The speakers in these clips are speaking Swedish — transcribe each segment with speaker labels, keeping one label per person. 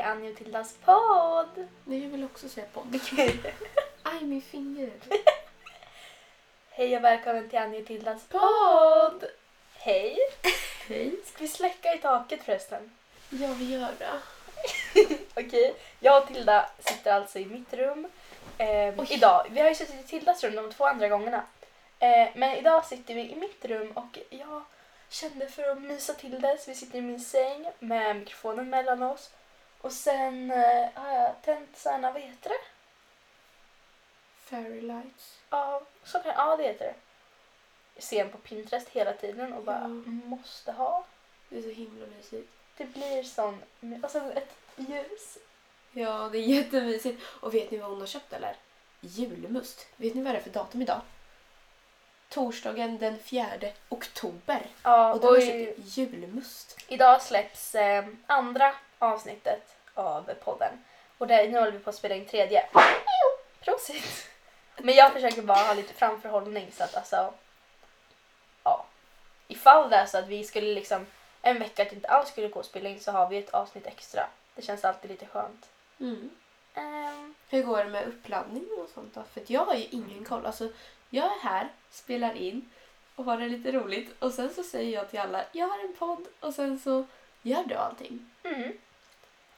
Speaker 1: kan ju Tildas podd.
Speaker 2: Nej, jag vill också säga podd.
Speaker 1: Det är kul.
Speaker 2: Aj, min finger.
Speaker 1: Hej och välkommen till Annie och Tildas podd. Hej.
Speaker 2: Hej.
Speaker 1: Ska vi släcka i taket förresten?
Speaker 2: Ja, vi gör det.
Speaker 1: Okej, jag och Tilda sitter alltså i mitt rum ehm,
Speaker 2: Oj.
Speaker 1: idag. Vi har ju suttit i Tildas rum de två andra gångerna. Eh, men idag sitter vi i mitt rum och jag kände för att mysa till det så vi sitter i min säng med mikrofonen mellan oss. Och sen eh, har jag tänt såna, vad heter det?
Speaker 2: Fairy lights.
Speaker 1: Ja, så kan, ja det heter det. Jag ser den på Pinterest hela tiden och bara
Speaker 2: Ja.
Speaker 1: måste ha.
Speaker 2: Det är så himla mysigt.
Speaker 1: Det blir sån, och sen ett ljus.
Speaker 2: Ja, det är jättemysigt. Och vet ni vad hon har köpt eller? Julmust. Vet ni vad det är för datum idag? Torsdagen den 4 oktober.
Speaker 1: Ja,
Speaker 2: Och då har
Speaker 1: oj.
Speaker 2: jag köpt julmust.
Speaker 1: Idag släpps eh, andra avsnittet av podden. Och det, nu håller vi på att spela in tredje. Prosit! Men jag försöker bara ha lite framförhållning så att alltså... Ja. Ifall det är så att vi skulle liksom en vecka att inte alls skulle gå och spela in så har vi ett avsnitt extra. Det känns alltid lite skönt.
Speaker 2: Mm.
Speaker 1: Ehm,
Speaker 2: Hur går det med uppladdning och sånt då? För att jag har ju ingen koll. Alltså, jag är här, spelar in och har det lite roligt och sen så säger jag till alla, jag har en podd och sen så gör du allting.
Speaker 1: mm.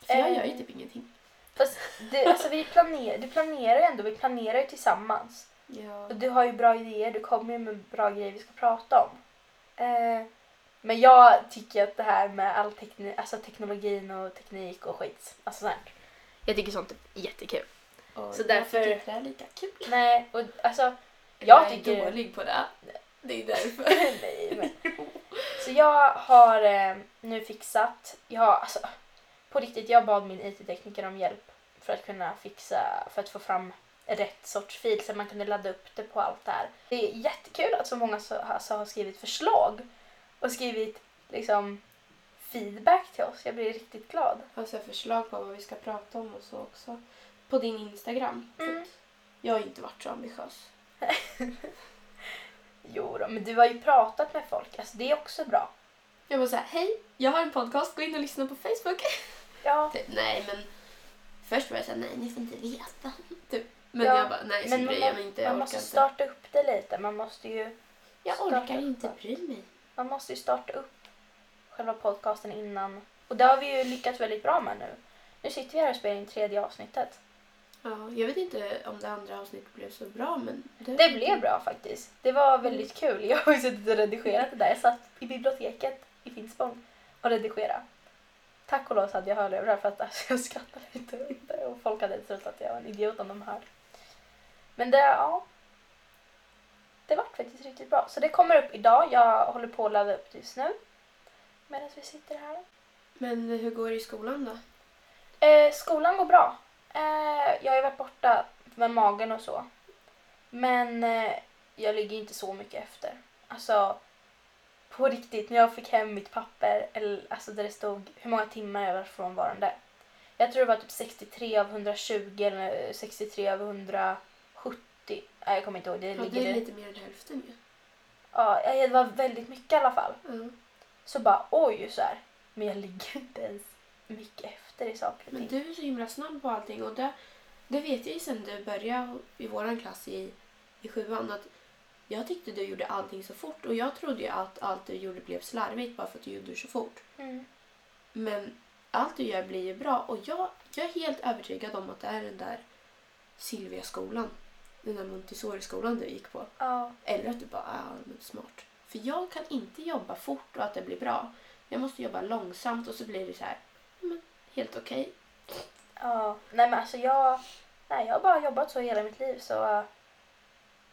Speaker 2: För jag
Speaker 1: Eh.
Speaker 2: gör ju typ ingenting.
Speaker 1: Fast det, alltså vi planerar, du planerar ju ändå, vi planerar ju tillsammans.
Speaker 2: Ja.
Speaker 1: Och Du har ju bra idéer, du kommer ju med bra grejer vi ska prata om. Eh, men jag tycker att det här med all tekni- alltså teknologin och teknik och skit, alltså sånt. här. Jag tycker sånt är jättekul.
Speaker 2: Och
Speaker 1: Så därför-
Speaker 2: Jag tycker inte det är lika kul.
Speaker 1: Nej, och alltså, Jag
Speaker 2: Jag, är
Speaker 1: tycker-
Speaker 2: dålig på det. Det är därför.
Speaker 1: nej men. Så jag har eh, nu fixat, jag har, alltså på riktigt, jag bad min IT-tekniker om hjälp för att kunna fixa, för att få fram rätt sorts fil så att man kunde ladda upp det på allt det här. Det är jättekul att så många så, alltså, har skrivit förslag och skrivit liksom feedback till oss. Jag blir riktigt glad.
Speaker 2: Jag har så här förslag på vad vi ska prata om och så också. På din Instagram. För
Speaker 1: Mm.
Speaker 2: att Jag har ju inte varit så ambitiös.
Speaker 1: Jo då, men du har ju pratat med folk, alltså det är också bra.
Speaker 2: Jag var så här, hej, jag har en podcast, gå in och lyssna på Facebook.
Speaker 1: Ja,
Speaker 2: Typ, nej men först var jag såhär, nej ni får inte veta. Typ. Men
Speaker 1: Ja,
Speaker 2: jag bara, nej så
Speaker 1: men man,
Speaker 2: bryr jag mig inte,
Speaker 1: må-
Speaker 2: jag
Speaker 1: man
Speaker 2: orkar
Speaker 1: måste
Speaker 2: inte.
Speaker 1: starta upp det lite. Man måste ju,
Speaker 2: jag
Speaker 1: starta
Speaker 2: orkar inte
Speaker 1: upp.
Speaker 2: bry mig.
Speaker 1: man måste ju starta upp själva podcasten innan. Och det har vi ju lyckats väldigt bra med nu. Nu sitter vi här och spelar in tredje avsnittet.
Speaker 2: Ja, jag vet inte om det andra avsnittet blev så bra men
Speaker 1: Det blev bra faktiskt. Det var väldigt kul. Jag har ju suttit och redigerat det där. Jag satt i biblioteket i Finspång och redigerade. Tack och lov så hade jag hörlurar för att alltså, jag skrattade lite åt det och folk hade trott att jag var en idiot om de hörde. Men det, ja. Det var faktiskt riktigt bra. Så det kommer upp idag. Jag håller på att ladda upp det just nu. Medan vi sitter här.
Speaker 2: Men hur går det i skolan då?
Speaker 1: Eh, skolan går bra. Eh, jag har ju varit borta med magen och så. Men eh, jag ligger inte så mycket efter. Alltså, på riktigt, när jag fick hem mitt papper eller, alltså där det stod hur många timmar jag var frånvarande. Jag tror det var typ 63 av 120 eller 63 av 170. Nej, jag kommer inte ihåg. Det,
Speaker 2: Ja,
Speaker 1: ligger
Speaker 2: det är
Speaker 1: lite...
Speaker 2: lite mer än hälften ju.
Speaker 1: ja, det var väldigt mycket i alla fall.
Speaker 2: Ja.
Speaker 1: Så bara oj, så här. Men jag ligger inte ens mycket efter i saker och ting.
Speaker 2: Men du är så himla snabb på allting och det, det vet jag ju sen du började i våran klass i, i sjuan att jag tyckte du gjorde allting så fort och jag trodde ju att allt du gjorde blev slarvigt bara för att du gjorde så fort.
Speaker 1: Mm.
Speaker 2: Men allt du gör blir ju bra och jag, jag är helt övertygad om att det är den där Silvia-skolan. Den där Montessori-skolan du gick på.
Speaker 1: Ja.
Speaker 2: Eller att du bara "Ah, är allmänt smart. För jag kan inte jobba fort och att det blir bra. Jag måste jobba långsamt och så blir det så här, men, helt okej.
Speaker 1: Ja, nej men alltså jag, nej, jag har bara jobbat så hela mitt liv så eh,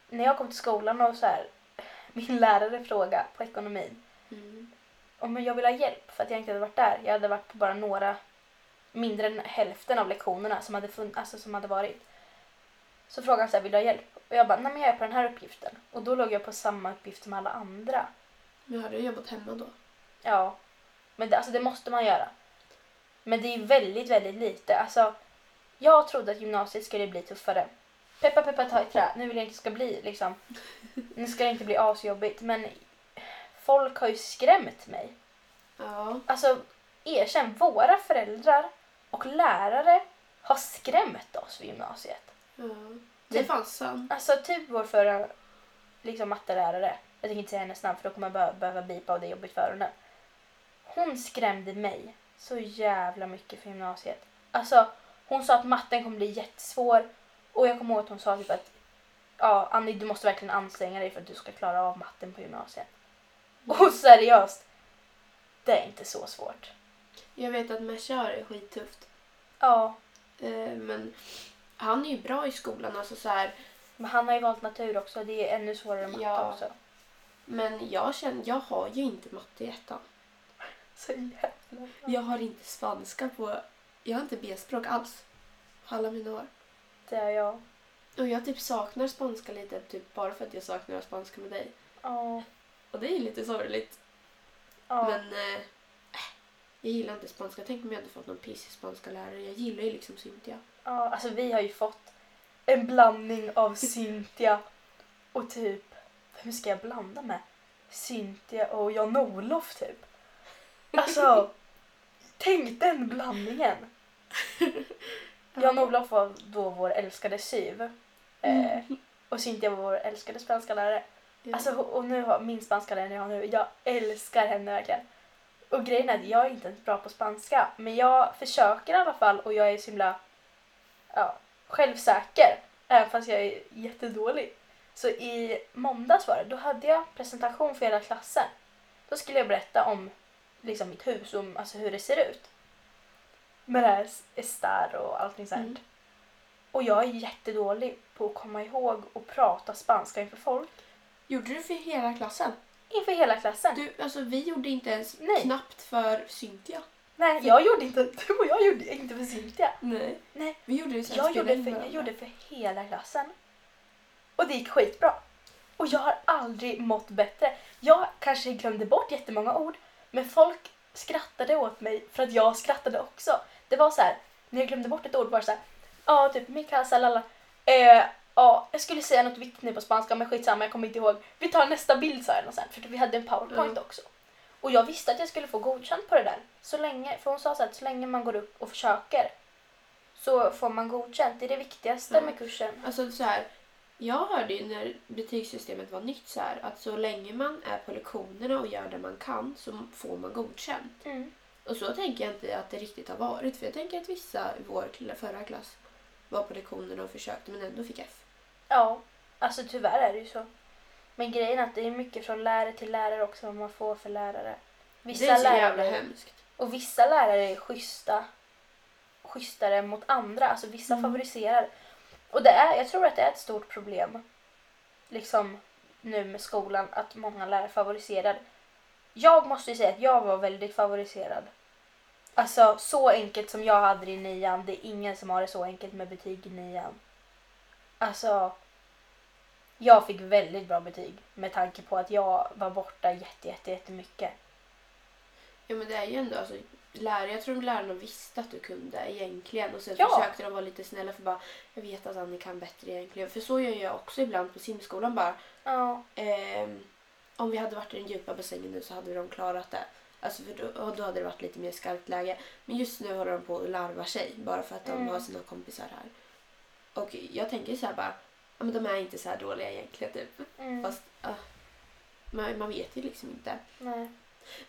Speaker 1: när jag kom till skolan och så här, min lärare frågade på ekonomin
Speaker 2: Mm.
Speaker 1: om jag ville ha hjälp för att jag inte hade varit där. Jag hade varit på bara några, mindre än hälften av lektionerna som hade, fun- alltså, som hade varit. Så frågade han så här, vill du ha hjälp? Och jag bara, nej men jag är på den här uppgiften. Och då låg jag på samma uppgift som alla andra.
Speaker 2: Men har du jobbat hemma då?
Speaker 1: Ja, men det, alltså det måste man göra. Men det är väldigt, väldigt lite. Alltså, jag trodde att gymnasiet skulle bli tuffare. Peppa, peppa, ta i trä. Nu vill jag inte ska bli liksom. Nu ska det inte bli asjobbigt. Men folk har ju skrämt mig.
Speaker 2: Ja.
Speaker 1: Alltså, erkänn, våra föräldrar och lärare har skrämt oss vid gymnasiet.
Speaker 2: Ja. Det är fan sant.
Speaker 1: Alltså typ vår förra liksom, mattelärare, jag tänker inte säga hennes namn för då kommer jag behöva, behöva bipa och det är jobbigt för henne. Hon skrämde mig så jävla mycket för gymnasiet. Alltså hon sa att matten kommer bli jättesvår och jag kommer ihåg att hon sa typ att ja Annie du måste verkligen anstränga dig för att du ska klara av matten på gymnasiet. Och seriöst, det är inte så svårt.
Speaker 2: Jag vet att Meshar är skittufft.
Speaker 1: Ja,
Speaker 2: Eh, men han är ju bra i skolan. Alltså så här,
Speaker 1: men han har ju valt natur också, det är ännu svårare matte
Speaker 2: Ja.
Speaker 1: också.
Speaker 2: men jag känner, jag har ju inte matte i ettan.
Speaker 1: Så jävla
Speaker 2: Jag har inte spanska på... Jag har inte B-språk alls. på Alla mina år.
Speaker 1: Det är jag.
Speaker 2: Och jag typ saknar spanska lite, typ bara för att jag saknar spanska med dig.
Speaker 1: Ja,
Speaker 2: Och det är ju lite sorgligt.
Speaker 1: ja.
Speaker 2: Men eh, äh, jag gillar inte spanska. Tänk om jag hade fått någon pissig spanska lärare. Jag gillar ju liksom Cynthia.
Speaker 1: Ja, alltså vi har ju fått en blandning av Cynthia och typ, vem ska jag blanda med? Cynthia och Jan-Olof typ. Alltså, tänk den blandningen. Jan-Olof var då vår älskade SYV. Eh,
Speaker 2: Mm.
Speaker 1: och Cynthia var vår älskade spanska lärare.
Speaker 2: Ja.
Speaker 1: Alltså och nu har min spanska lärare jag har nu, jag älskar henne verkligen. Och grejen är att jag är inte ens bra på spanska, men jag försöker i alla fall och jag är så himla ja, självsäker, även fast jag är jättedålig. Så i måndags var det, då hade jag presentation för hela klassen. Då skulle jag berätta om liksom, mitt hus, om, alltså hur det ser ut. Med det här estar och allting sånt.
Speaker 2: Mm.
Speaker 1: Och jag är jättedålig på att komma ihåg och prata spanska inför folk.
Speaker 2: Gjorde du för hela klassen?
Speaker 1: Inför hela klassen.
Speaker 2: Du, alltså vi gjorde inte ens
Speaker 1: Nej.
Speaker 2: knappt för Cynthia.
Speaker 1: Nej, jag gjorde inte. Du och jag gjorde inte för Cynthia.
Speaker 2: Nej.
Speaker 1: Nej.
Speaker 2: Vi gjorde det sen
Speaker 1: Jag gjorde,
Speaker 2: spelade in
Speaker 1: för, jag
Speaker 2: varandra.
Speaker 1: gjorde för hela klassen. Och det gick skitbra. Och jag har aldrig mått bättre. Jag kanske glömde bort jättemånga ord, men folk skrattade åt mig för att jag skrattade också. Det var så här, när jag glömde bort ett ord var det så här, ja typ mi casa lalla. Eh, ja, jag skulle säga något viktigt nu på spanska men skitsamma jag kommer inte ihåg. Vi tar nästa bild sa jag något sen för vi hade en powerpoint
Speaker 2: Mm.
Speaker 1: också. Och jag visste att jag skulle få godkänt på det där. Så länge, för hon sa så här, att så länge man går upp och försöker så får man godkänt. Det är det viktigaste
Speaker 2: Mm.
Speaker 1: med kursen.
Speaker 2: Alltså så här, jag hörde ju när betygssystemet var nytt så här, att så länge man är på lektionerna och gör det man kan så får man godkänt.
Speaker 1: Mm.
Speaker 2: Och så tänker jag inte att det riktigt har varit för jag tänker att vissa i vår kla- förra klass var på lektionerna och försökte men ändå fick F.
Speaker 1: Ja, alltså tyvärr är det ju så. Men grejen är att det är mycket från lärare till lärare också vad man får för lärare. Vissa
Speaker 2: det är så jävla
Speaker 1: lärare,
Speaker 2: hemskt.
Speaker 1: och vissa lärare är schyssta, schysstare mot andra. Alltså vissa
Speaker 2: Mm.
Speaker 1: favoriserar. Och det är, jag tror att det är ett stort problem liksom nu med skolan att många lärare favoriserar. Jag måste ju säga att jag var väldigt favoriserad. Alltså så enkelt som jag hade det i nian, det är ingen som har det så enkelt med betyg i nian. Alltså, jag fick väldigt bra betyg med tanke på att jag var borta jätte, jätte, jättemycket.
Speaker 2: Ja men det är ju ändå alltså, lärare, jag tror lärarna visste att du kunde egentligen och sen
Speaker 1: Ja.
Speaker 2: försökte de vara lite snälla för bara jag vet att Annie kan bättre egentligen. För så gör jag också ibland på simskolan bara
Speaker 1: Ja.
Speaker 2: Ehm, om vi hade varit i den djupa bassängen nu så hade de klarat det. Alltså för då, och då hade det varit lite mer skarpt läge. Men just nu håller de på och larvar sig bara för att de
Speaker 1: Mm.
Speaker 2: har sina kompisar här. Och jag tänker så här bara, ja men de är inte så här dåliga egentligen typ.
Speaker 1: Mm.
Speaker 2: Fast ah, man, man vet ju liksom inte.
Speaker 1: Nej.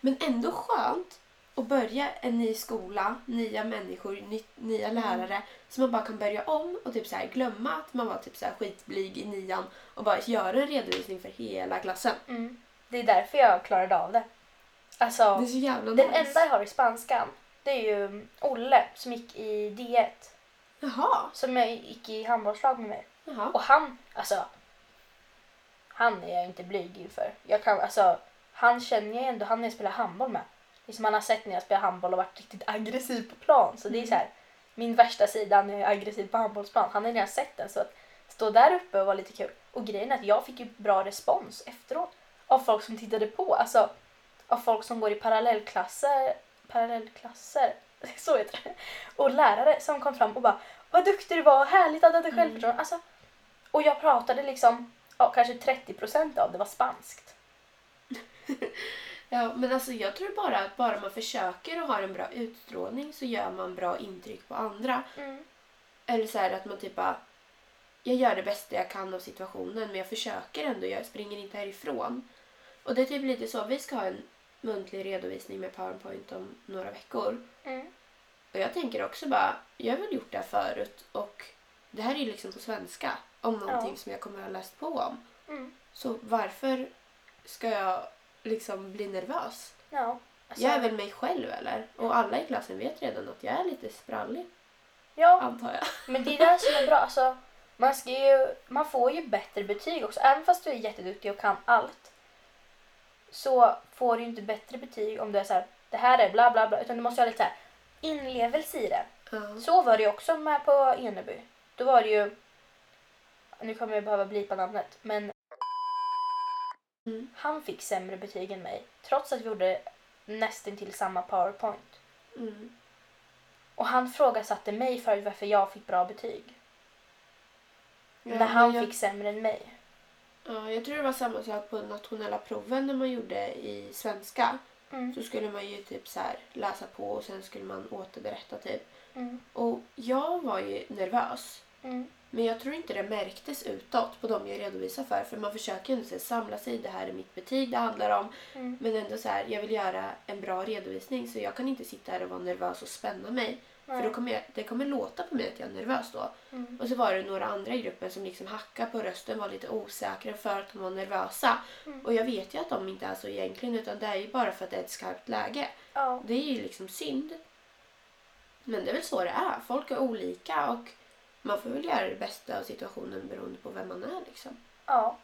Speaker 2: Men ändå skönt att börja en ny skola, nya människor, ny, nya
Speaker 1: Mm.
Speaker 2: lärare. Så man bara kan börja om och typ så här glömma att man var typ så här skitblyg i nian och bara göra en redovisning för hela klassen.
Speaker 1: Mm. Det är därför jag klarade av det. Alltså,
Speaker 2: Det är så jävla
Speaker 1: den
Speaker 2: nice.
Speaker 1: enda jag har i spanskan, det är ju mm, Olle som gick i D1.
Speaker 2: Jaha.
Speaker 1: Som jag gick i handbollslag med mig.
Speaker 2: Jaha.
Speaker 1: Och han, alltså. Han är jag inte blyg inför. Jag kan, alltså, han känner jag ändå, han har jag spelat handboll med. Liksom han har sett när jag spelar handboll och varit riktigt aggressiv på plan. Så det är så här, min värsta sida när jag är aggressiv på handbollsplan. Han har redan sett den så att stå där uppe var lite kul. Och grejen är att jag fick ju bra respons efteråt. Av folk som tittade på. Alltså av folk som går i parallellklasser. Parallellklasser? Så heter det. Och lärare som kom fram och bara Vad duktig du var, vad härligt att du hade självförtroende. Alltså, och jag pratade liksom, ja, kanske 30% av det var spanskt.
Speaker 2: Ja, men alltså jag tror bara att bara man försöker och har en bra utstrålning så gör man bra intryck på andra.
Speaker 1: Mm.
Speaker 2: Eller så här att man typ bara, jag gör det bästa jag kan av situationen men jag försöker ändå, jag springer inte härifrån. Och det är typ lite så, vi ska ha en muntlig redovisning med Powerpoint om några veckor.
Speaker 1: Mm.
Speaker 2: Och jag tänker också bara, jag har väl gjort det här förut och det här är ju liksom på svenska om någonting som jag kommer att ha läst på om.
Speaker 1: Mm.
Speaker 2: Så varför ska jag liksom bli nervös?
Speaker 1: Ja. Alltså,
Speaker 2: Jag är väl mig själv eller? Och alla i klassen vet redan att jag är lite sprallig,
Speaker 1: Ja,
Speaker 2: antar jag.
Speaker 1: men det är det här som är bra. Alltså, man, ska ju, man får ju bättre betyg också. Även fast du är jätteduktig och kan allt så får du ju inte bättre betyg om du är så här, det här är bla bla bla. Utan du måste ha lite så här inlevelse i det.
Speaker 2: Mm.
Speaker 1: Så var det ju också med på Eneby. Då var det ju... Nu kommer jag behöva blipa namnet, men...
Speaker 2: Mm.
Speaker 1: Han fick sämre betyg än mig, trots att vi gjorde nästintill samma powerpoint.
Speaker 2: Mm.
Speaker 1: Och han frågasatte mig för varför jag fick bra betyg.
Speaker 2: Ja,
Speaker 1: när han
Speaker 2: men jag,
Speaker 1: fick sämre än mig.
Speaker 2: Ja, jag tror det var samma sak på nationella proven när man gjorde i svenska.
Speaker 1: Mm.
Speaker 2: Så skulle man ju typ så här läsa på och sen skulle man återberätta typ.
Speaker 1: Mm.
Speaker 2: Och jag var ju nervös.
Speaker 1: Mm.
Speaker 2: Men jag tror inte det märktes utåt på dem jag redovisar för. För man försöker ju ändå så här samla sig. Det här är mitt betyg det handlar om.
Speaker 1: Mm.
Speaker 2: Men ändå så här, jag vill göra en bra redovisning så jag kan inte sitta här och vara nervös och spänna mig. För
Speaker 1: Nej.
Speaker 2: då kommer jag, det kommer låta på mig att jag är nervös då.
Speaker 1: Mm.
Speaker 2: Och så var det några andra i gruppen som liksom hackade på rösten, var lite osäkra för att de var nervösa.
Speaker 1: Mm.
Speaker 2: Och jag vet ju att de inte är så egentligen utan det är ju bara för att det är ett skarpt läge.
Speaker 1: Ja.
Speaker 2: Det är ju liksom synd. Men det är väl så det är. Folk är olika och man får väl göra det bästa av situationen beroende på vem man är liksom.
Speaker 1: ja.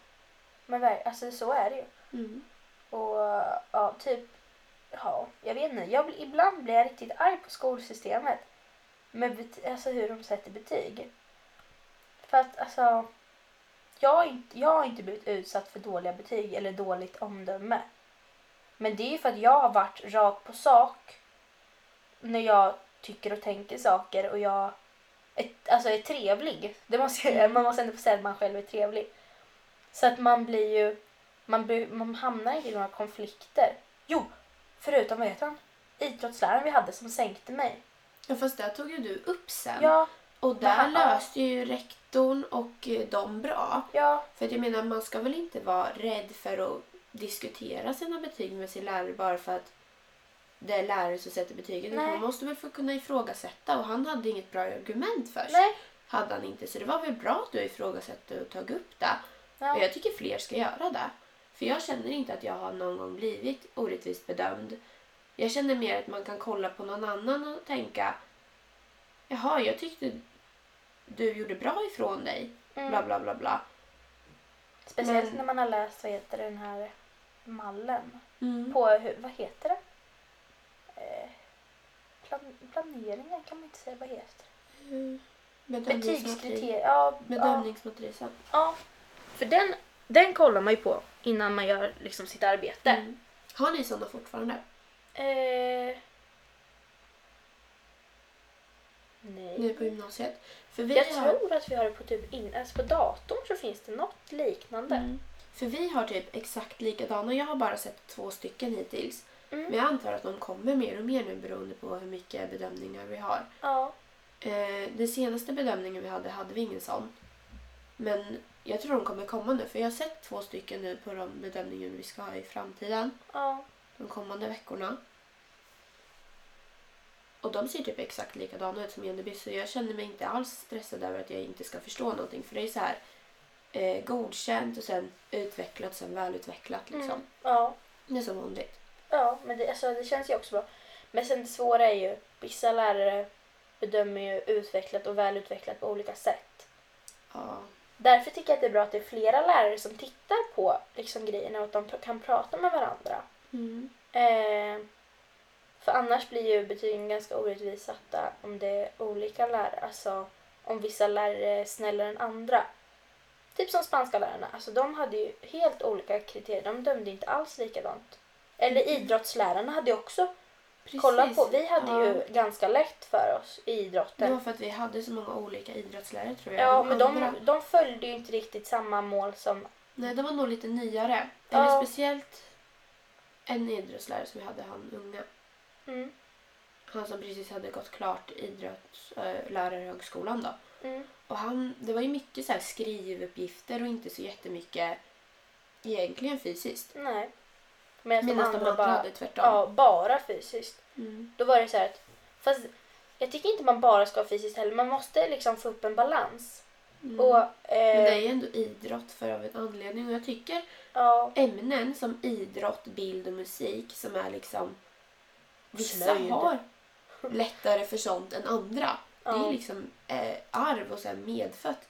Speaker 1: Men ver- alltså, så är det ju.
Speaker 2: Mm.
Speaker 1: Och ja, typ, ja, jag vet inte. Jag, blir- ibland blir jag riktigt arg på skolsystemet. Med bet- alltså hur de sätter betyg. För att alltså, jag har, inte, jag har inte blivit utsatt för dåliga betyg eller dåligt omdöme. Men det är ju för att jag har varit rakt på sak när jag tycker och tänker saker och jag är, alltså är trevlig. Det måste, jag- man måste ändå få säga att man själv är trevlig. Så att man blir ju man, blir- man hamnar inte i några konflikter. Jo, förutom vad heter han? Idrottsläraren vi hade som sänkte mig.
Speaker 2: Ja, fast där tog ju du upp sen.
Speaker 1: Ja,
Speaker 2: Och där
Speaker 1: Men han-
Speaker 2: löste ju rektorn och eh, de bra.
Speaker 1: ja,
Speaker 2: För att jag menar, man ska väl inte vara rädd för att diskutera sina betyg med sin lärare bara för att det är lärare som sätter betygen.
Speaker 1: Nej.
Speaker 2: Man måste väl få kunna ifrågasätta och han hade inget bra argument först.
Speaker 1: nej.
Speaker 2: Hade han inte, så det var väl bra att du ifrågasatte och tog upp det.
Speaker 1: Ja,
Speaker 2: Och jag tycker fler ska göra det. För jag känner inte att jag har någon gång blivit orättvist bedömd. Jag känner mer att man kan kolla på någon annan och tänka Jaha, jag tyckte du gjorde bra ifrån dig. Bla,
Speaker 1: mm.
Speaker 2: bla, bla, bla.
Speaker 1: Speciellt
Speaker 2: men-
Speaker 1: när man har läst, vad heter den här mallen?
Speaker 2: Mm.
Speaker 1: På, hur- vad heter det? Eh, plan, planeringen kan man inte säga, vad heter det? Betygskriterier, ja. ja.
Speaker 2: Bedömningsmatrisen.
Speaker 1: ja. För den, den kollar man ju på innan man gör liksom sitt arbete.
Speaker 2: Mm. Har ni sådana fortfarande?
Speaker 1: Eh... Nej.
Speaker 2: Nu på gymnasiet? För vi
Speaker 1: Jag
Speaker 2: har...
Speaker 1: tror att vi har det på typ in, alltså på datorn så finns det något liknande.
Speaker 2: Mm. För vi har typ exakt likadana. Jag har bara sett två stycken hittills.
Speaker 1: Mm.
Speaker 2: Men jag antar att de kommer mer och mer nu beroende på hur mycket bedömningar vi har.
Speaker 1: Ja.
Speaker 2: Eh, den senaste bedömningen vi hade, hade vi ingen sån. Men jag tror de kommer komma nu. För jag har sett två stycken nu på de bedömningar vi ska ha i framtiden.
Speaker 1: ja.
Speaker 2: de kommande veckorna. Och de ser typ exakt likadana ut som Eneby så jag känner mig inte alls stressad över att jag inte ska förstå någonting. För det är så här eh, godkänt och sen utvecklat, sen välutvecklat liksom.
Speaker 1: Mm. ja.
Speaker 2: Det är som vanligt.
Speaker 1: Ja, men det, alltså, det känns ju också bra. Men sen det svåra är ju, vissa lärare bedömer ju utvecklat och välutvecklat på olika sätt.
Speaker 2: Ja.
Speaker 1: Därför tycker jag att det är bra att det är flera lärare som tittar på liksom, grejerna och att de pr- kan prata med varandra.
Speaker 2: Mm.
Speaker 1: Eh, för annars blir ju betygen ganska orättvist satta om det är olika lärare. Alltså om vissa lärare är snällare än andra. Typ som spanska lärarna. Alltså de hade ju helt olika kriterier. De dömde inte alls likadant. Eller idrottslärarna hade ju också
Speaker 2: Mm. Precis.
Speaker 1: kollat på. Vi hade
Speaker 2: ja.
Speaker 1: ju ganska lätt för oss i
Speaker 2: Det
Speaker 1: idrotten.
Speaker 2: var för att vi hade så många olika idrottslärare tror jag.
Speaker 1: Ja, men de,
Speaker 2: andra-
Speaker 1: de följde ju inte riktigt samma mål som...
Speaker 2: Nej, de var nog lite nyare.
Speaker 1: Ja.
Speaker 2: Eller speciellt en idrottslärare som vi hade, han unga.
Speaker 1: Mm.
Speaker 2: Han som precis hade gått klart idrottslärarhögskolan då.
Speaker 1: Mm.
Speaker 2: Och han, det var ju mycket så här skrivuppgifter och inte så jättemycket egentligen fysiskt.
Speaker 1: Nej. Medan de
Speaker 2: Medan de
Speaker 1: andra
Speaker 2: andra
Speaker 1: bara,
Speaker 2: hade tvärtom.
Speaker 1: ja, bara fysiskt.
Speaker 2: Mm.
Speaker 1: Då var det så här att, fast jag tycker inte man bara ska ha fysiskt heller. Man måste liksom få upp en balans.
Speaker 2: Mm.
Speaker 1: Och,
Speaker 2: Men det
Speaker 1: eh,
Speaker 2: är ju ändå idrott för av en anledning och jag tycker
Speaker 1: ja,
Speaker 2: ämnen som idrott, bild och musik som är liksom vissa
Speaker 1: Slöjd.
Speaker 2: har lättare för sånt än andra. Det
Speaker 1: Ja.
Speaker 2: är liksom eh, arv och sen medfött.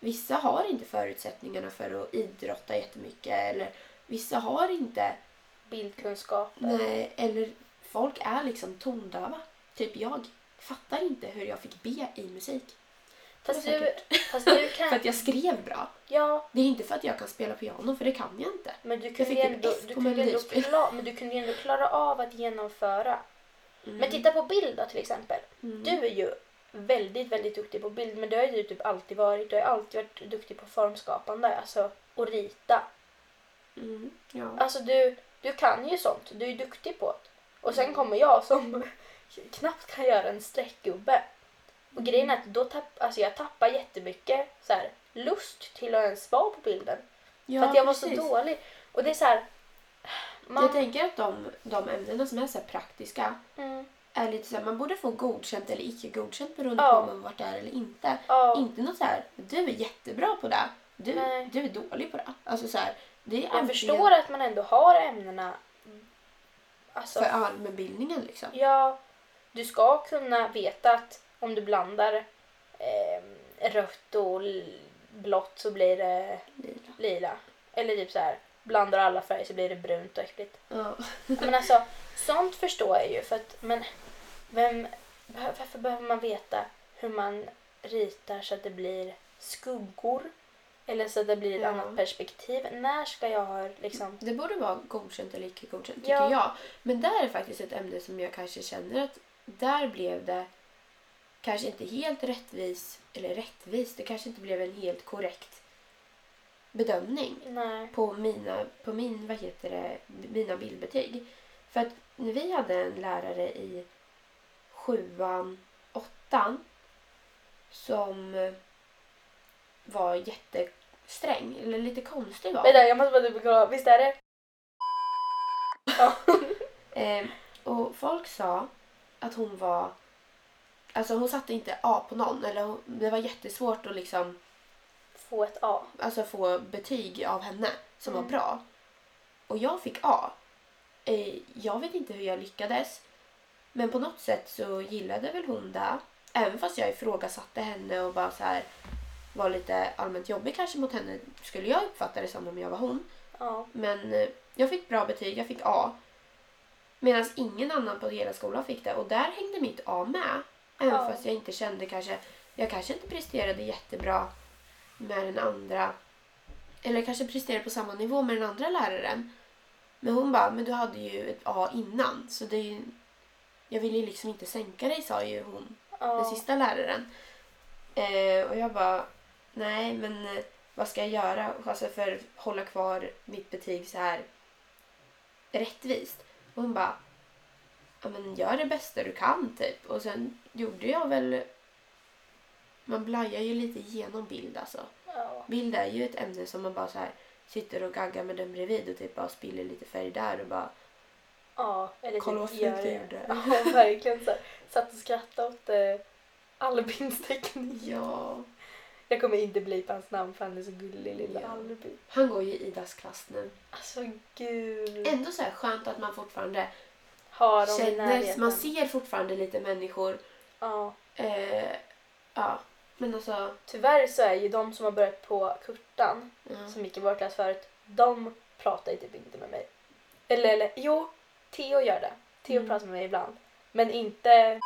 Speaker 2: Vissa har inte förutsättningarna för att idrotta jättemycket eller vissa har inte
Speaker 1: bildkunskaper.
Speaker 2: Nej, eller folk är liksom tondöva. Typ jag fattar inte hur jag fick B i musik.
Speaker 1: Fast
Speaker 2: Men
Speaker 1: du,
Speaker 2: säkert.
Speaker 1: fast du
Speaker 2: För
Speaker 1: kan...
Speaker 2: att jag skrev bra.
Speaker 1: Ja,
Speaker 2: Det är inte för att jag kan spela piano, för det kan jag inte.
Speaker 1: men du
Speaker 2: Jag
Speaker 1: kunde
Speaker 2: fick
Speaker 1: ju
Speaker 2: ett
Speaker 1: ändå,
Speaker 2: F
Speaker 1: du
Speaker 2: på
Speaker 1: kunde ändå,
Speaker 2: melodispel.
Speaker 1: kla, men du kunde ju ändå klara av att genomföra.
Speaker 2: Mm.
Speaker 1: Men titta på bild då till exempel.
Speaker 2: Mm.
Speaker 1: Du är ju väldigt, väldigt duktig på bild, men det har ju du typ alltid varit. Du har ju alltid varit duktig på formskapande, alltså och rita.
Speaker 2: Mm. Ja.
Speaker 1: Alltså du, du kan ju sånt, du är ju duktig på det. Och
Speaker 2: Mm.
Speaker 1: sen kommer jag som knappt kan göra en streckgubbe.
Speaker 2: Mm.
Speaker 1: Och grejen är att då tapp, alltså jag tappar jättemycket så här, lust till att ens vara på bilden.
Speaker 2: ja,
Speaker 1: för att jag var
Speaker 2: precis.
Speaker 1: så dålig. Och det är så här... Man,
Speaker 2: Jag tänker att de, de ämnena som är så här praktiska
Speaker 1: mm,
Speaker 2: är lite så här, man borde få godkänt eller icke godkänt beroende
Speaker 1: Ja.
Speaker 2: på om man varit där eller inte.
Speaker 1: ja,
Speaker 2: Inte något så här, du är jättebra på det, du,
Speaker 1: Nej.
Speaker 2: du är dålig på det. Alltså så här, det är
Speaker 1: jag
Speaker 2: antingen
Speaker 1: förstår att man ändå har ämnena. Alltså,
Speaker 2: för allmänbildningen liksom.
Speaker 1: Ja, du ska kunna veta att om du blandar eh, rött och l- blått så blir det
Speaker 2: Lila.
Speaker 1: lila. Eller typ så här, blandar alla färger så blir det brunt och äckligt.
Speaker 2: Ja.
Speaker 1: Men alltså, sånt förstår jag ju. För att, men vem, behö- varför behöver man veta hur man ritar så att det blir skuggor? Eller så att det blir ett
Speaker 2: Ja.
Speaker 1: annat perspektiv? När ska jag ha liksom...
Speaker 2: Det borde vara godkänt eller icke godkänt tycker
Speaker 1: Ja.
Speaker 2: jag. Men där är faktiskt ett ämne som jag kanske känner att där blev det kanske inte helt rättvis, eller rättvis, det kanske inte blev en helt korrekt bedömning
Speaker 1: Nej.
Speaker 2: på mina, på min, vad heter det, mina bildbetyg. För att när vi hade en lärare i sjuan, åttan som eh, var jättesträng, eller lite konstig var hon.
Speaker 1: Vänta, jag måste bara dubbelkolla. Visst är det?
Speaker 2: Eh, och folk sa att hon var... Alltså hon satte inte A på någon. Eller hon, det var jättesvårt att liksom,
Speaker 1: Få ett A.
Speaker 2: alltså få betyg av henne som
Speaker 1: Mm.
Speaker 2: var bra. Och jag fick A. Eh, jag vet inte hur jag lyckades. Men på något sätt så gillade väl hon det. Även fast jag ifrågasatte henne och bara så här var lite allmänt jobbig kanske mot henne skulle jag uppfatta det som om jag var hon.
Speaker 1: Ja.
Speaker 2: Men eh, jag fick bra betyg, jag fick A. Medan ingen annan på hela skolan fick det och där hängde mitt A med. Även
Speaker 1: Ja.
Speaker 2: fast jag inte kände kanske, jag kanske inte presterade jättebra med den andra. Eller kanske presterade på samma nivå med den andra läraren. Men hon bara, men du hade ju ett A innan så det är ju, jag ville ju liksom inte sänka dig sa ju hon den
Speaker 1: Ja.
Speaker 2: sista läraren. Eh, och jag bara, nej men eh, vad ska jag göra alltså för att hålla kvar mitt betyg så här rättvist? Och hon bara, ja men gör det bästa du kan typ. Och sen gjorde jag väl, man blajar ju lite igenom bild alltså.
Speaker 1: Ja.
Speaker 2: Bild är ju ett ämne som man bara så här sitter och gaggar med den bredvid och typ bara spiller lite färg där och bara
Speaker 1: ja. Eller
Speaker 2: Kolla vad
Speaker 1: typ
Speaker 2: fint
Speaker 1: gör
Speaker 2: jag
Speaker 1: det.
Speaker 2: gjorde.
Speaker 1: Ja, verkligen. Så här, satt och skrattade åt eh, Albins teknik.
Speaker 2: ja.
Speaker 1: Jag kommer inte bli på hans namn för han är så gullig, lilla
Speaker 2: Ja.
Speaker 1: Albin.
Speaker 2: Han går ju i Idas klass nu.
Speaker 1: Alltså gud.
Speaker 2: Ändå så här skönt att man fortfarande
Speaker 1: Har de i
Speaker 2: känner,
Speaker 1: närheten.
Speaker 2: man ser fortfarande lite människor.
Speaker 1: Ja.
Speaker 2: Eh, ja, men alltså...
Speaker 1: Tyvärr så är ju de som har börjat på Kurtan,
Speaker 2: Ja.
Speaker 1: som gick i vår klass förut, de pratar ju typ inte med mig. Eller, eller jo, Theo gör det. Theo
Speaker 2: Mm.
Speaker 1: pratar med mig ibland. Men inte...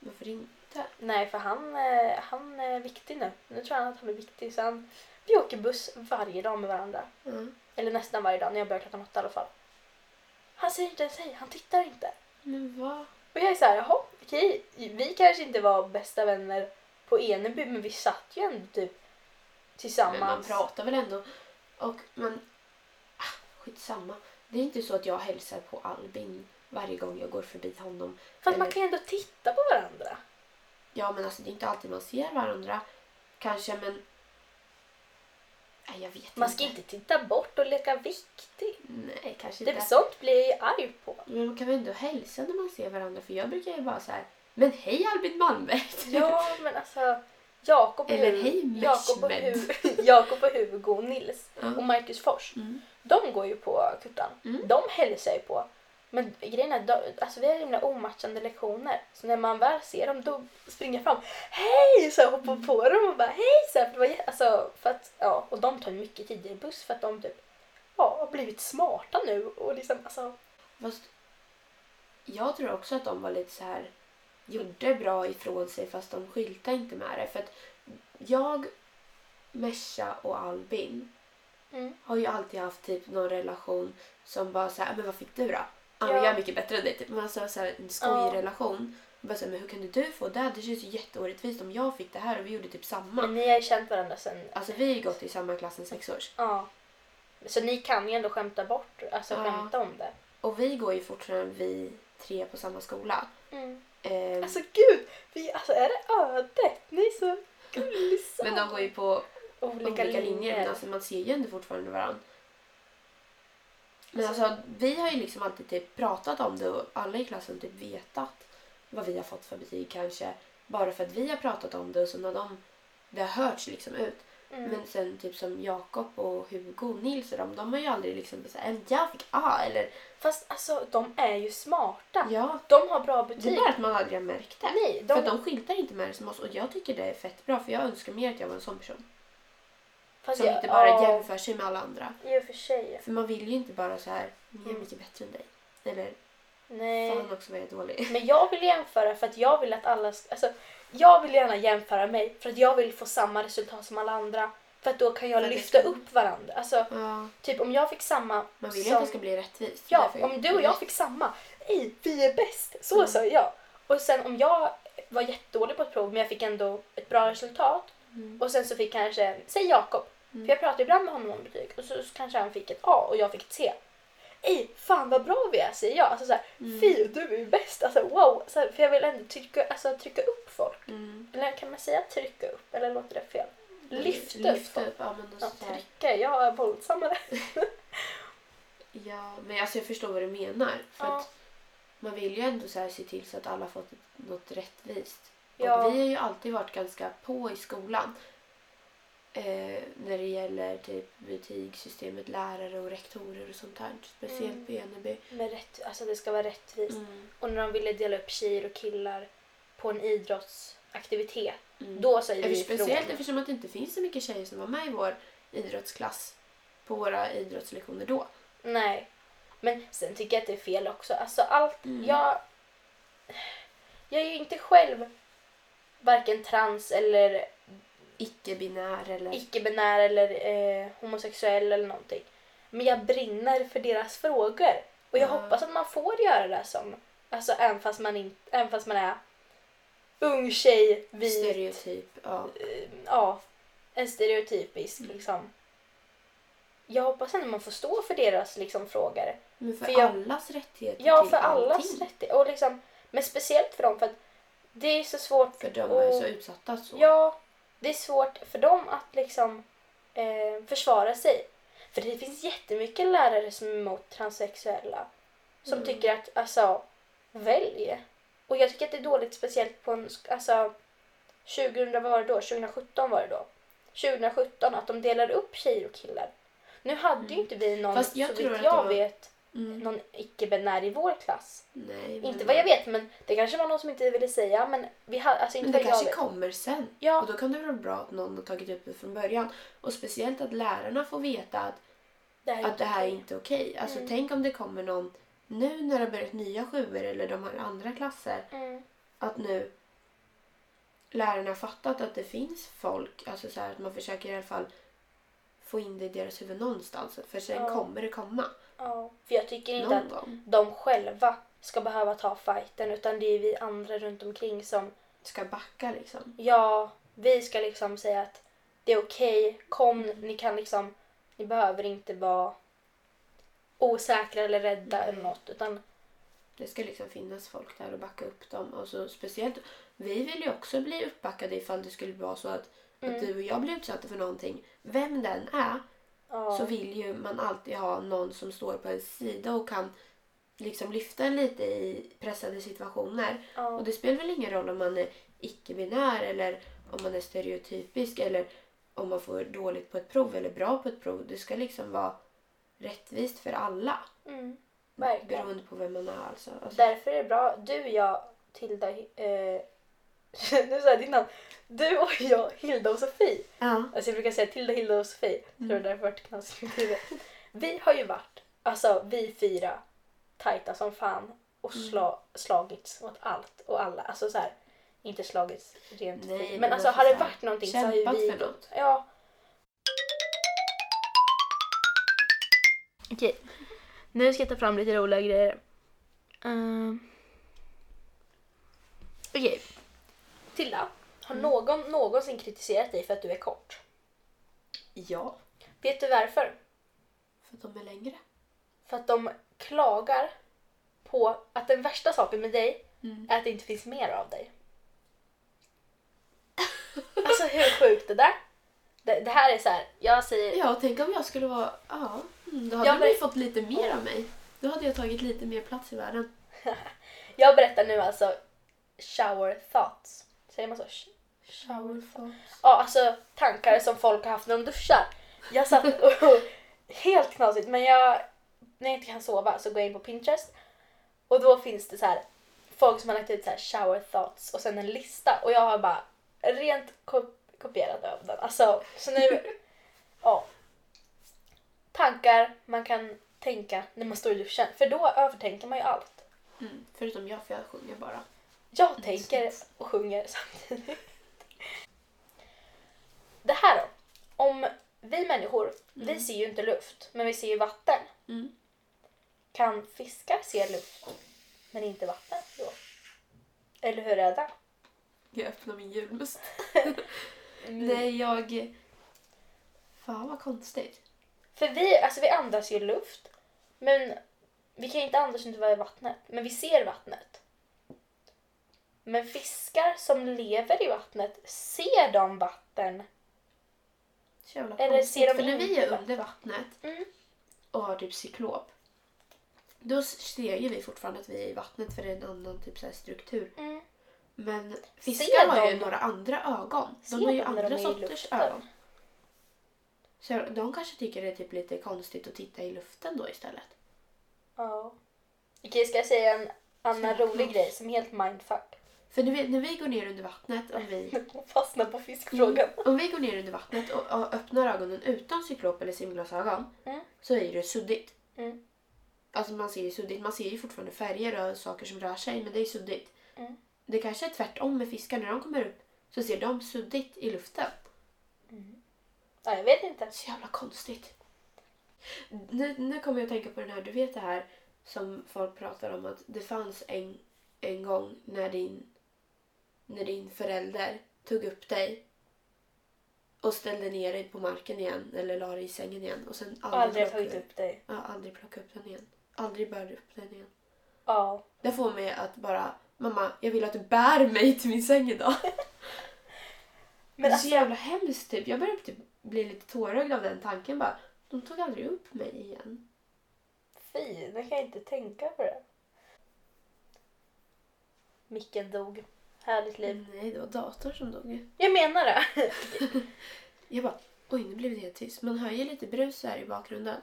Speaker 2: Varför inte?
Speaker 1: Nej, för han, eh, han är viktig nu. Nu tror han att han är viktig. Så han, vi åker buss varje dag med varandra.
Speaker 2: Ja.
Speaker 1: Eller nästan varje dag, när jag börjar klockan åtta i alla fall. Han säger inte ens hej, han tittar inte.
Speaker 2: Men vad?
Speaker 1: Och jag är så här, jaha, okej, vi kanske inte var bästa vänner på Eneby, men vi satt ju ändå typ
Speaker 2: Men man
Speaker 1: tillsammans.
Speaker 2: pratar väl ändå. Och man... Ah, skitsamma. Det är inte så att jag hälsar på Albin varje gång jag går förbi honom.
Speaker 1: För att
Speaker 2: Eller-
Speaker 1: man kan ju ändå titta på varandra.
Speaker 2: Ja, men alltså det är inte alltid man ser varandra. Kanske, men... Nej, jag vet
Speaker 1: Man ska
Speaker 2: inte.
Speaker 1: inte titta bort och leka viktig.
Speaker 2: Nej, kanske
Speaker 1: Det,
Speaker 2: inte.
Speaker 1: sånt blir jag ju arg på.
Speaker 2: Men man kan väl ändå hälsa när man ser varandra? För jag brukar ju bara så här... Men hej Albin Malmberg!
Speaker 1: Ja, men alltså Jakob och,
Speaker 2: Eller
Speaker 1: Hu-
Speaker 2: hej,
Speaker 1: Jakob och,
Speaker 2: Meshmed.
Speaker 1: Hu- Jakob och Hugo och Nils
Speaker 2: Ja.
Speaker 1: och Marcus Fors.
Speaker 2: Mm.
Speaker 1: De går ju på Kurtan.
Speaker 2: Mm.
Speaker 1: De hälsar ju på. Men grejen är, de, alltså vi har himla omatchande lektioner. Så när man väl ser dem då springer jag fram. Hej! Så jag hoppar
Speaker 2: Mm.
Speaker 1: på dem och bara hej! Så här, för det var, jä- alltså, för att, ja, och de tar ju mycket tidigare buss för att de typ ja, har blivit smarta nu. Och liksom, alltså,
Speaker 2: Fast jag tror också att de var lite så här gjorde bra ifrån sig fast de skyltade inte med det. För att jag, Mesha och Albin
Speaker 1: Mm.
Speaker 2: har ju alltid haft typ någon relation som bara så här, men vad fick du då? Ja, men
Speaker 1: Ja.
Speaker 2: jag är mycket bättre än dig. Typ. Men alltså så här, en skojrelation. Bara så här, men hur kunde du få det? Det känns ju jätteorättvist om jag fick det här och vi gjorde typ samma.
Speaker 1: men ni har ju känt varandra sen
Speaker 2: Alltså vi har ju gått i samma klass i sex års.
Speaker 1: Ja. Så ni kan ju ändå skämta bort, alltså
Speaker 2: Ja.
Speaker 1: skämta om det.
Speaker 2: Och vi går ju fortfarande vi tre på samma skola. Ehm,
Speaker 1: Mm. Alltså gud, vi, alltså, är det ödet? Ni är så gulliga.
Speaker 2: men de går ju på
Speaker 1: olika,
Speaker 2: olika linjer.
Speaker 1: linjer.
Speaker 2: Men alltså, man ser ju ändå fortfarande varandra. Men alltså, vi har ju liksom alltid typ pratat om det och alla i klassen typ vetat vad vi har fått för betyg kanske. Bara för att vi har pratat om det och så när de, det har hörts liksom ut.
Speaker 1: Mm.
Speaker 2: Men sen typ som Jakob och Hugo och Nils och de, de har ju aldrig liksom såhär en jag fick A eller
Speaker 1: Fast alltså de är ju smarta.
Speaker 2: ja.
Speaker 1: De har bra
Speaker 2: Det är
Speaker 1: betyg.
Speaker 2: bara att man aldrig har märkt det.
Speaker 1: Nej,
Speaker 2: För
Speaker 1: de,
Speaker 2: att de skyltar inte med det som oss och jag tycker det är fett bra för jag önskar mer att jag var en sån person.
Speaker 1: fast
Speaker 2: Som
Speaker 1: jag-
Speaker 2: inte bara
Speaker 1: ja,
Speaker 2: jämför sig med alla andra.
Speaker 1: I och för sig.
Speaker 2: För man vill ju inte bara så här, jag är
Speaker 1: Mm.
Speaker 2: mycket bättre än dig. Eller,
Speaker 1: Nej.
Speaker 2: fan också vad jag är dålig.
Speaker 1: Men jag vill jämföra för att jag vill att alla ska, alltså, Jag vill gärna jämföra mig för att jag vill få samma resultat som alla andra. För att då kan jag
Speaker 2: För att det
Speaker 1: lyfta
Speaker 2: ska-
Speaker 1: upp varandra. Alltså,
Speaker 2: Ja,
Speaker 1: typ om jag fick samma
Speaker 2: man vill ju
Speaker 1: som-
Speaker 2: att det ska bli rättvist.
Speaker 1: Ja,
Speaker 2: Därför-
Speaker 1: om du och jag fick samma. Ej, vi är bäst! Så
Speaker 2: Mm.
Speaker 1: sa jag. Och sen om jag var jättedålig på ett prov men jag fick ändå ett bra resultat
Speaker 2: Mm.
Speaker 1: och sen så fick kanske, säg Jakob,
Speaker 2: Mm.
Speaker 1: för jag pratade ibland med honom om betyg och så, så kanske han fick ett A och jag fick ett C. Ej, fan vad bra vi är säger jag. Alltså såhär,
Speaker 2: Mm.
Speaker 1: fy du är ju bäst! Alltså wow! Så här, för jag vill ändå trycka, alltså, trycka upp folk.
Speaker 2: Mm.
Speaker 1: Eller kan man säga trycka upp eller låter det fel? Lyfta upp
Speaker 2: Lyfta
Speaker 1: folk.
Speaker 2: upp. Ja, men,
Speaker 1: Ja,
Speaker 2: alltså, så här,
Speaker 1: trycka, jag är våldsammare.
Speaker 2: ja, men alltså jag förstår vad du menar. För
Speaker 1: Ja.
Speaker 2: att man vill ju ändå så här se till så att alla fått något rättvist.
Speaker 1: Ja.
Speaker 2: Och vi har ju alltid varit ganska på i skolan. Eh, när det gäller typ betygssystemet, lärare och rektorer och sånt här. Speciellt
Speaker 1: Mm.
Speaker 2: på Eneby. Mm.
Speaker 1: Men rätt, alltså det ska vara rättvist. Och när de ville dela upp tjejer och killar på en idrottsaktivitet,
Speaker 2: Mm.
Speaker 1: då säger vi
Speaker 2: Eftersom, speciellt
Speaker 1: ifrån.
Speaker 2: eftersom att det inte finns så mycket tjejer som var med i vår idrottsklass på våra idrottslektioner då.
Speaker 1: Nej. Men sen tycker jag att det är fel också. Alltså allt,
Speaker 2: Mm.
Speaker 1: jag... Jag är ju inte själv varken trans eller
Speaker 2: Icke-binär eller...
Speaker 1: icke-binär eller eh, homosexuell eller någonting. Men jag brinner för deras frågor. Och jag
Speaker 2: Ja.
Speaker 1: hoppas att man får göra det som, alltså även fast man, in, även fast man är ung tjej, vit,
Speaker 2: stereotyp. Ja.
Speaker 1: eh, ja, en stereotypisk
Speaker 2: Mm.
Speaker 1: liksom. Jag hoppas ändå man får stå för deras liksom frågor.
Speaker 2: Men för,
Speaker 1: För jag-
Speaker 2: allas rättigheter
Speaker 1: Ja,
Speaker 2: till
Speaker 1: för allas
Speaker 2: allting.
Speaker 1: rättigheter. Och liksom, men speciellt för dem för att det är så svårt.
Speaker 2: För de
Speaker 1: och-
Speaker 2: är så utsatta så.
Speaker 1: Ja, det är svårt för dem att liksom eh, försvara sig. För det finns jättemycket lärare som är emot transsexuella. Som
Speaker 2: Mm.
Speaker 1: tycker att, alltså, välj. Och jag tycker att det är dåligt speciellt på en, sk- alltså, 2000, vad var det då? 2017 var det då. 2017, att de delar upp tjejer och killar. Nu hade ju inte vi någon,
Speaker 2: Mm. Fast jag
Speaker 1: så
Speaker 2: tror
Speaker 1: vitt
Speaker 2: att
Speaker 1: jag
Speaker 2: det var-
Speaker 1: vet,
Speaker 2: Mm.
Speaker 1: någon icke-binär i vår klass.
Speaker 2: Nej,
Speaker 1: Inte vad jag vet, men det kanske var någon som inte ville säga, men vi hade, alltså
Speaker 2: Men
Speaker 1: inte
Speaker 2: det
Speaker 1: vad jag
Speaker 2: kanske
Speaker 1: vet.
Speaker 2: kommer sen.
Speaker 1: Ja.
Speaker 2: Och då kan det vara bra att någon har tagit upp det från början. Och speciellt att lärarna får veta att
Speaker 1: Det här är
Speaker 2: att det här är
Speaker 1: okej.
Speaker 2: inte okej. Alltså
Speaker 1: Mm.
Speaker 2: tänk om det kommer någon nu när det har börjat nya sjuor eller de har andra klasser
Speaker 1: Mm.
Speaker 2: att nu lärarna har fattat att det finns folk, alltså så här att man försöker i alla fall få in det i deras huvud någonstans. För sen
Speaker 1: Ja.
Speaker 2: kommer det komma
Speaker 1: Ja, för jag tycker inte
Speaker 2: någon
Speaker 1: att
Speaker 2: gång.
Speaker 1: de själva ska behöva ta fighten utan det är vi andra runt omkring som,
Speaker 2: Ska backa liksom.
Speaker 1: ja, vi ska liksom säga att det är okej, kom, ni kan liksom, ni behöver inte vara osäkra eller rädda
Speaker 2: Nej.
Speaker 1: eller något. Utan
Speaker 2: Det ska liksom finnas folk där och backa upp dem. Och så speciellt, vi vill ju också bli uppbackade ifall det skulle vara så att,
Speaker 1: Mm.
Speaker 2: att du och jag blir utsatta för någonting. Vem den är
Speaker 1: ja,
Speaker 2: så vill ju man alltid ha någon som står på ens sida och kan liksom lyfta en lite i pressade situationer.
Speaker 1: ja,
Speaker 2: Och det spelar väl ingen roll om man är icke-binär eller om man är stereotypisk eller om man får dåligt på ett prov eller bra på ett prov. Det ska liksom vara rättvist för alla.
Speaker 1: mm, verkligen.
Speaker 2: Beroende på vem man är alltså. alltså
Speaker 1: Därför är det bra. Du, jag, Tilda... Eh, nu sa jag ditt namn. Du och jag, Hilda och Sofie.
Speaker 2: ja.
Speaker 1: Alltså jag brukar säga Tilda, Hilda och Sofie. Mm. Tror det därför vart knasigt i mitt huvud. Vi har ju varit, alltså vi fyra, tajta som fan och sla, slagits mot allt och alla. Alltså så här, inte slagits rent
Speaker 2: Nej,
Speaker 1: fysiskt. Men
Speaker 2: men
Speaker 1: alltså
Speaker 2: alltså
Speaker 1: har det
Speaker 2: så här,
Speaker 1: varit någonting så har ju
Speaker 2: Kämpat
Speaker 1: vi...
Speaker 2: för något.
Speaker 1: Ja. Okej. Nu ska jag ta fram lite roliga grejer. Ehm. Okej. Mm. Tilda, har någon någonsin kritiserat dig för att du är kort?
Speaker 2: Ja.
Speaker 1: Vet du varför?
Speaker 2: För att de är längre.
Speaker 1: För att de klagar på att den värsta saken med dig
Speaker 2: Mm.
Speaker 1: är att det inte finns mer av dig. Alltså hur sjukt det där? Det, det här är så här, jag säger
Speaker 2: Ja, tänk om jag skulle vara... Ja, mm, då hade
Speaker 1: Ja,
Speaker 2: du
Speaker 1: men-
Speaker 2: ju fått lite mer av mig. Då hade jag tagit lite mer plats i världen.
Speaker 1: Jag berättar nu alltså shower thoughts. Säger man så? Sh- Ja, alltså tankar som folk har haft när de duschar. Jag satt och... helt knasigt, men jag... När jag inte kan sova så går jag in på Pinterest och då finns det så här folk som har lagt ut så här shower thoughts och sen en lista och jag har bara rent kop- kopierat av den. Alltså, så nu... ja. Tankar man kan tänka när man står i duschen, för då övertänker man ju allt.
Speaker 2: Mm, förutom jag, för jag sjunger bara.
Speaker 1: Jag tänker och sjunger samtidigt. Det här då. Om vi människor, vi ser ju inte luft, men vi ser ju vatten.
Speaker 2: Mm.
Speaker 1: Kan fiskar se luft, men inte vatten då? Eller hur är det?
Speaker 2: Jag öppnar min julmust.
Speaker 1: Mm.
Speaker 2: Nej, jag... Fan vad konstigt.
Speaker 1: För vi, alltså vi andas ju luft, men vi kan ju inte andas inte vara i vattnet. Men vi ser vattnet. Men fiskar som lever i vattnet, ser de vatten?
Speaker 2: Så jävla
Speaker 1: Eller
Speaker 2: konstigt.
Speaker 1: ser de
Speaker 2: För när vi
Speaker 1: inte
Speaker 2: är under vattnet
Speaker 1: Mm.
Speaker 2: och har typ cyklop, då ser ju vi fortfarande att vi är i vattnet för det är en annan typ så här struktur.
Speaker 1: Mm.
Speaker 2: Men
Speaker 1: Ser
Speaker 2: fiskar har ju
Speaker 1: de-
Speaker 2: några andra ögon.
Speaker 1: Ser
Speaker 2: De har ju
Speaker 1: de när de
Speaker 2: andra
Speaker 1: är i
Speaker 2: sorters
Speaker 1: luften?
Speaker 2: ögon. Så de kanske tycker det är typ lite konstigt att titta i luften då istället.
Speaker 1: Ja. Okej, ska jag säga en annan
Speaker 2: Jäklar.
Speaker 1: rolig grej som är helt mindfuck?
Speaker 2: För när vi, när vi går ner under vattnet, om vi,
Speaker 1: Hon fastnar på fiskfrågan.
Speaker 2: Mm. om vi går ner under vattnet och, och öppnar ögonen utan cyklop eller simglasögon
Speaker 1: Mm.
Speaker 2: så är det suddigt.
Speaker 1: Mm.
Speaker 2: Alltså man ser ju suddigt. Man ser ju fortfarande färger och saker som rör sig men det är suddigt.
Speaker 1: Mm.
Speaker 2: Det kanske är tvärtom med fiskar. När de kommer upp så ser de suddigt i luften.
Speaker 1: Ja, jag vet inte.
Speaker 2: Så jävla konstigt. Nu, nu kommer jag att tänka på den här, du vet det här som folk pratar om att det fanns en, en gång när din, när din förälder tog upp dig och ställde ner dig på marken igen eller la dig i sängen igen och sen
Speaker 1: Jag har aldrig
Speaker 2: plockade-
Speaker 1: tagit upp dig.
Speaker 2: Ja, aldrig plocka upp den igen. Aldrig bär upp den igen.
Speaker 1: Ja.
Speaker 2: Det får mig att bara, mamma jag vill att du bär mig till min säng idag.
Speaker 1: Men
Speaker 2: det är
Speaker 1: alltså,
Speaker 2: så jävla hemskt typ. Jag börjar typ bli lite tårögd av den tanken bara. De tog aldrig upp mig igen.
Speaker 1: fy, nu kan jag inte tänka på det. Micken dog. Härligt liv.
Speaker 2: Mm, Nej, det var datorn som dog.
Speaker 1: Jag menar det.
Speaker 2: Jag bara, oj nu blev det helt tyst. Man hör ju lite brus så här i bakgrunden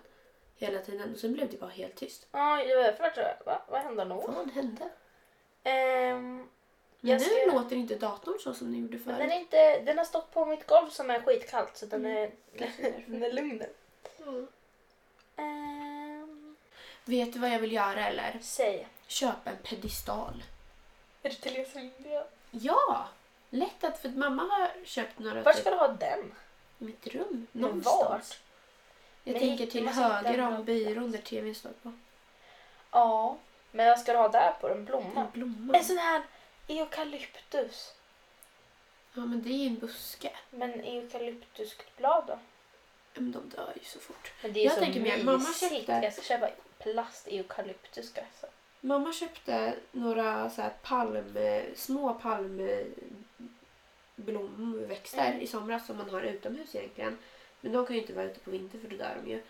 Speaker 2: hela tiden och sen blev det bara helt tyst.
Speaker 1: Ja, det var därför jag tror jag. Va? Vad hände nu?
Speaker 2: Vad hände?
Speaker 1: Ehm,
Speaker 2: Men
Speaker 1: Jag
Speaker 2: nu
Speaker 1: ska-
Speaker 2: låter inte datorn så som den gjorde
Speaker 1: men den,
Speaker 2: förut.
Speaker 1: är inte, den har stått på mitt golv som är skitkallt så den är,
Speaker 2: Kanske därför.
Speaker 1: den är lugn nu.
Speaker 2: Mm.
Speaker 1: Ehm,
Speaker 2: Vet du vad jag vill göra eller?
Speaker 1: säg.
Speaker 2: Köpa en pedestal.
Speaker 1: Är det Therese Lindgren?
Speaker 2: Ja! Lätt att, för att mamma har köpt några
Speaker 1: Var
Speaker 2: typ-
Speaker 1: ska du ha den?
Speaker 2: i mitt rum.
Speaker 1: Men
Speaker 2: Någonstans. Jag
Speaker 1: Men
Speaker 2: tänker
Speaker 1: hitta-
Speaker 2: till
Speaker 1: man måste hitta
Speaker 2: höger
Speaker 1: en
Speaker 2: om
Speaker 1: plats.
Speaker 2: byrån där tvn står på.
Speaker 1: Ja, men vad ska du ha där på den? Blomma? Alltså-
Speaker 2: En blomma.
Speaker 1: En sån här eukalyptus.
Speaker 2: Ja men det är ju en buske.
Speaker 1: Men eukalyptusblad då?
Speaker 2: men de dör ju så fort.
Speaker 1: Men det är ju
Speaker 2: Jag
Speaker 1: så
Speaker 2: tänker mer,
Speaker 1: mysigt.
Speaker 2: mamma köpte-
Speaker 1: Jag ska köpa plast-eukalyptuska. Alltså.
Speaker 2: Mamma köpte några så här palm, små palmblomväxter
Speaker 1: Mm.
Speaker 2: i somras som man har utomhus egentligen. Men de kan ju inte vara ute på vintern för då dör de ju.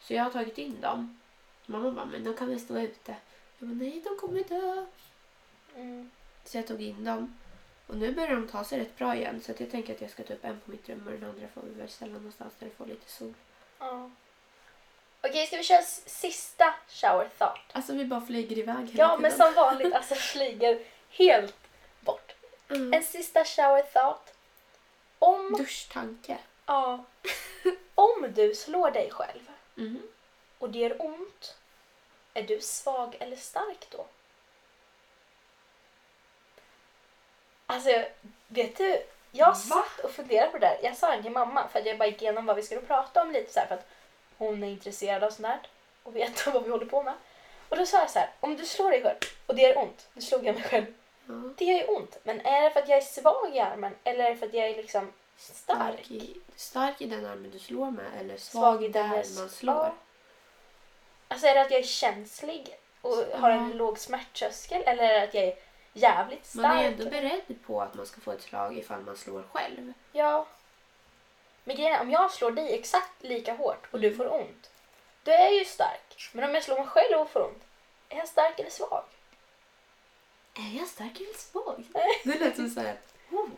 Speaker 2: Så jag har tagit in dem. Mamma bara, men de kan väl stå ute? Jag bara, nej de kommer dö.
Speaker 1: Mm.
Speaker 2: Så jag tog in dem. Och nu börjar de ta sig rätt bra igen så att jag tänker att jag ska ta upp en på mitt rum och den andra får vi väl ställa någonstans där det får lite sol.
Speaker 1: Ja. Okej, ska vi köra s- sista shower thought?
Speaker 2: Alltså vi bara flyger iväg hela
Speaker 1: Ja, men
Speaker 2: tiden.
Speaker 1: som vanligt alltså flyger helt bort.
Speaker 2: Mm.
Speaker 1: En sista shower thought. Om,
Speaker 2: Duschtanke.
Speaker 1: ja, om du slår dig själv
Speaker 2: Mm.
Speaker 1: och det gör ont, är du svag eller stark då? Alltså, jag- vet du? Jag
Speaker 2: Va?
Speaker 1: satt och funderade på det där. Jag sa det till mamma för att jag bara gick igenom vad vi skulle prata om lite så här för att hon är intresserad av sånt här och vet vad vi håller på med. Och då sa jag så här, om du slår dig själv och det gör ont, nu slog jag mig själv,
Speaker 2: Ja.
Speaker 1: det gör ju ont, men är det för att jag är svag i armen eller är det för att jag är liksom stark?
Speaker 2: Stark i, stark i den armen du slår med eller svag, i
Speaker 1: den
Speaker 2: den
Speaker 1: här-
Speaker 2: man slår.
Speaker 1: Ja. Alltså är det att jag är känslig och har en
Speaker 2: Ja.
Speaker 1: låg smärttröskel eller är det att jag är jävligt stark?
Speaker 2: Man är ju ändå beredd på att man ska få ett slag ifall man slår själv.
Speaker 1: Ja. Men grejen är, om jag slår dig exakt lika hårt och
Speaker 2: Mm.
Speaker 1: du får ont, då är jag ju stark. Men om jag slår mig själv och får ont, är jag stark eller svag?
Speaker 2: Är jag stark eller svag? Det lät som såhär... Oh.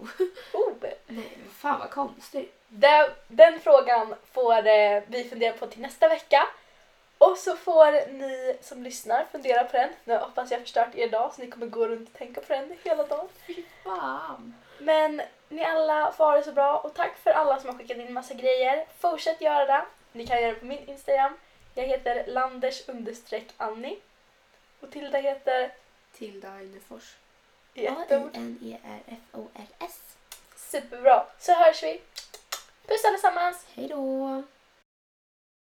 Speaker 1: Oh.
Speaker 2: Nej, men fan vad konstigt.
Speaker 1: Den, den frågan får eh, vi fundera på till nästa vecka. Och så får ni som lyssnar fundera på den. Nu hoppas jag förstört er dag så ni kommer gå runt och tänka på den hela dagen.
Speaker 2: Fan.
Speaker 1: Men ni alla får ha det så bra och tack för alla som har skickat in massa grejer. Fortsätt göra det. Ni kan göra det på min Instagram. Jag heter landers Annie. Och Tilda heter
Speaker 2: Tilda Einefors.
Speaker 1: i ett ord.
Speaker 2: A-I-N-E-R-F-O-R-S.
Speaker 1: Superbra. Så hörs vi. Puss allesammans!
Speaker 2: Hej då!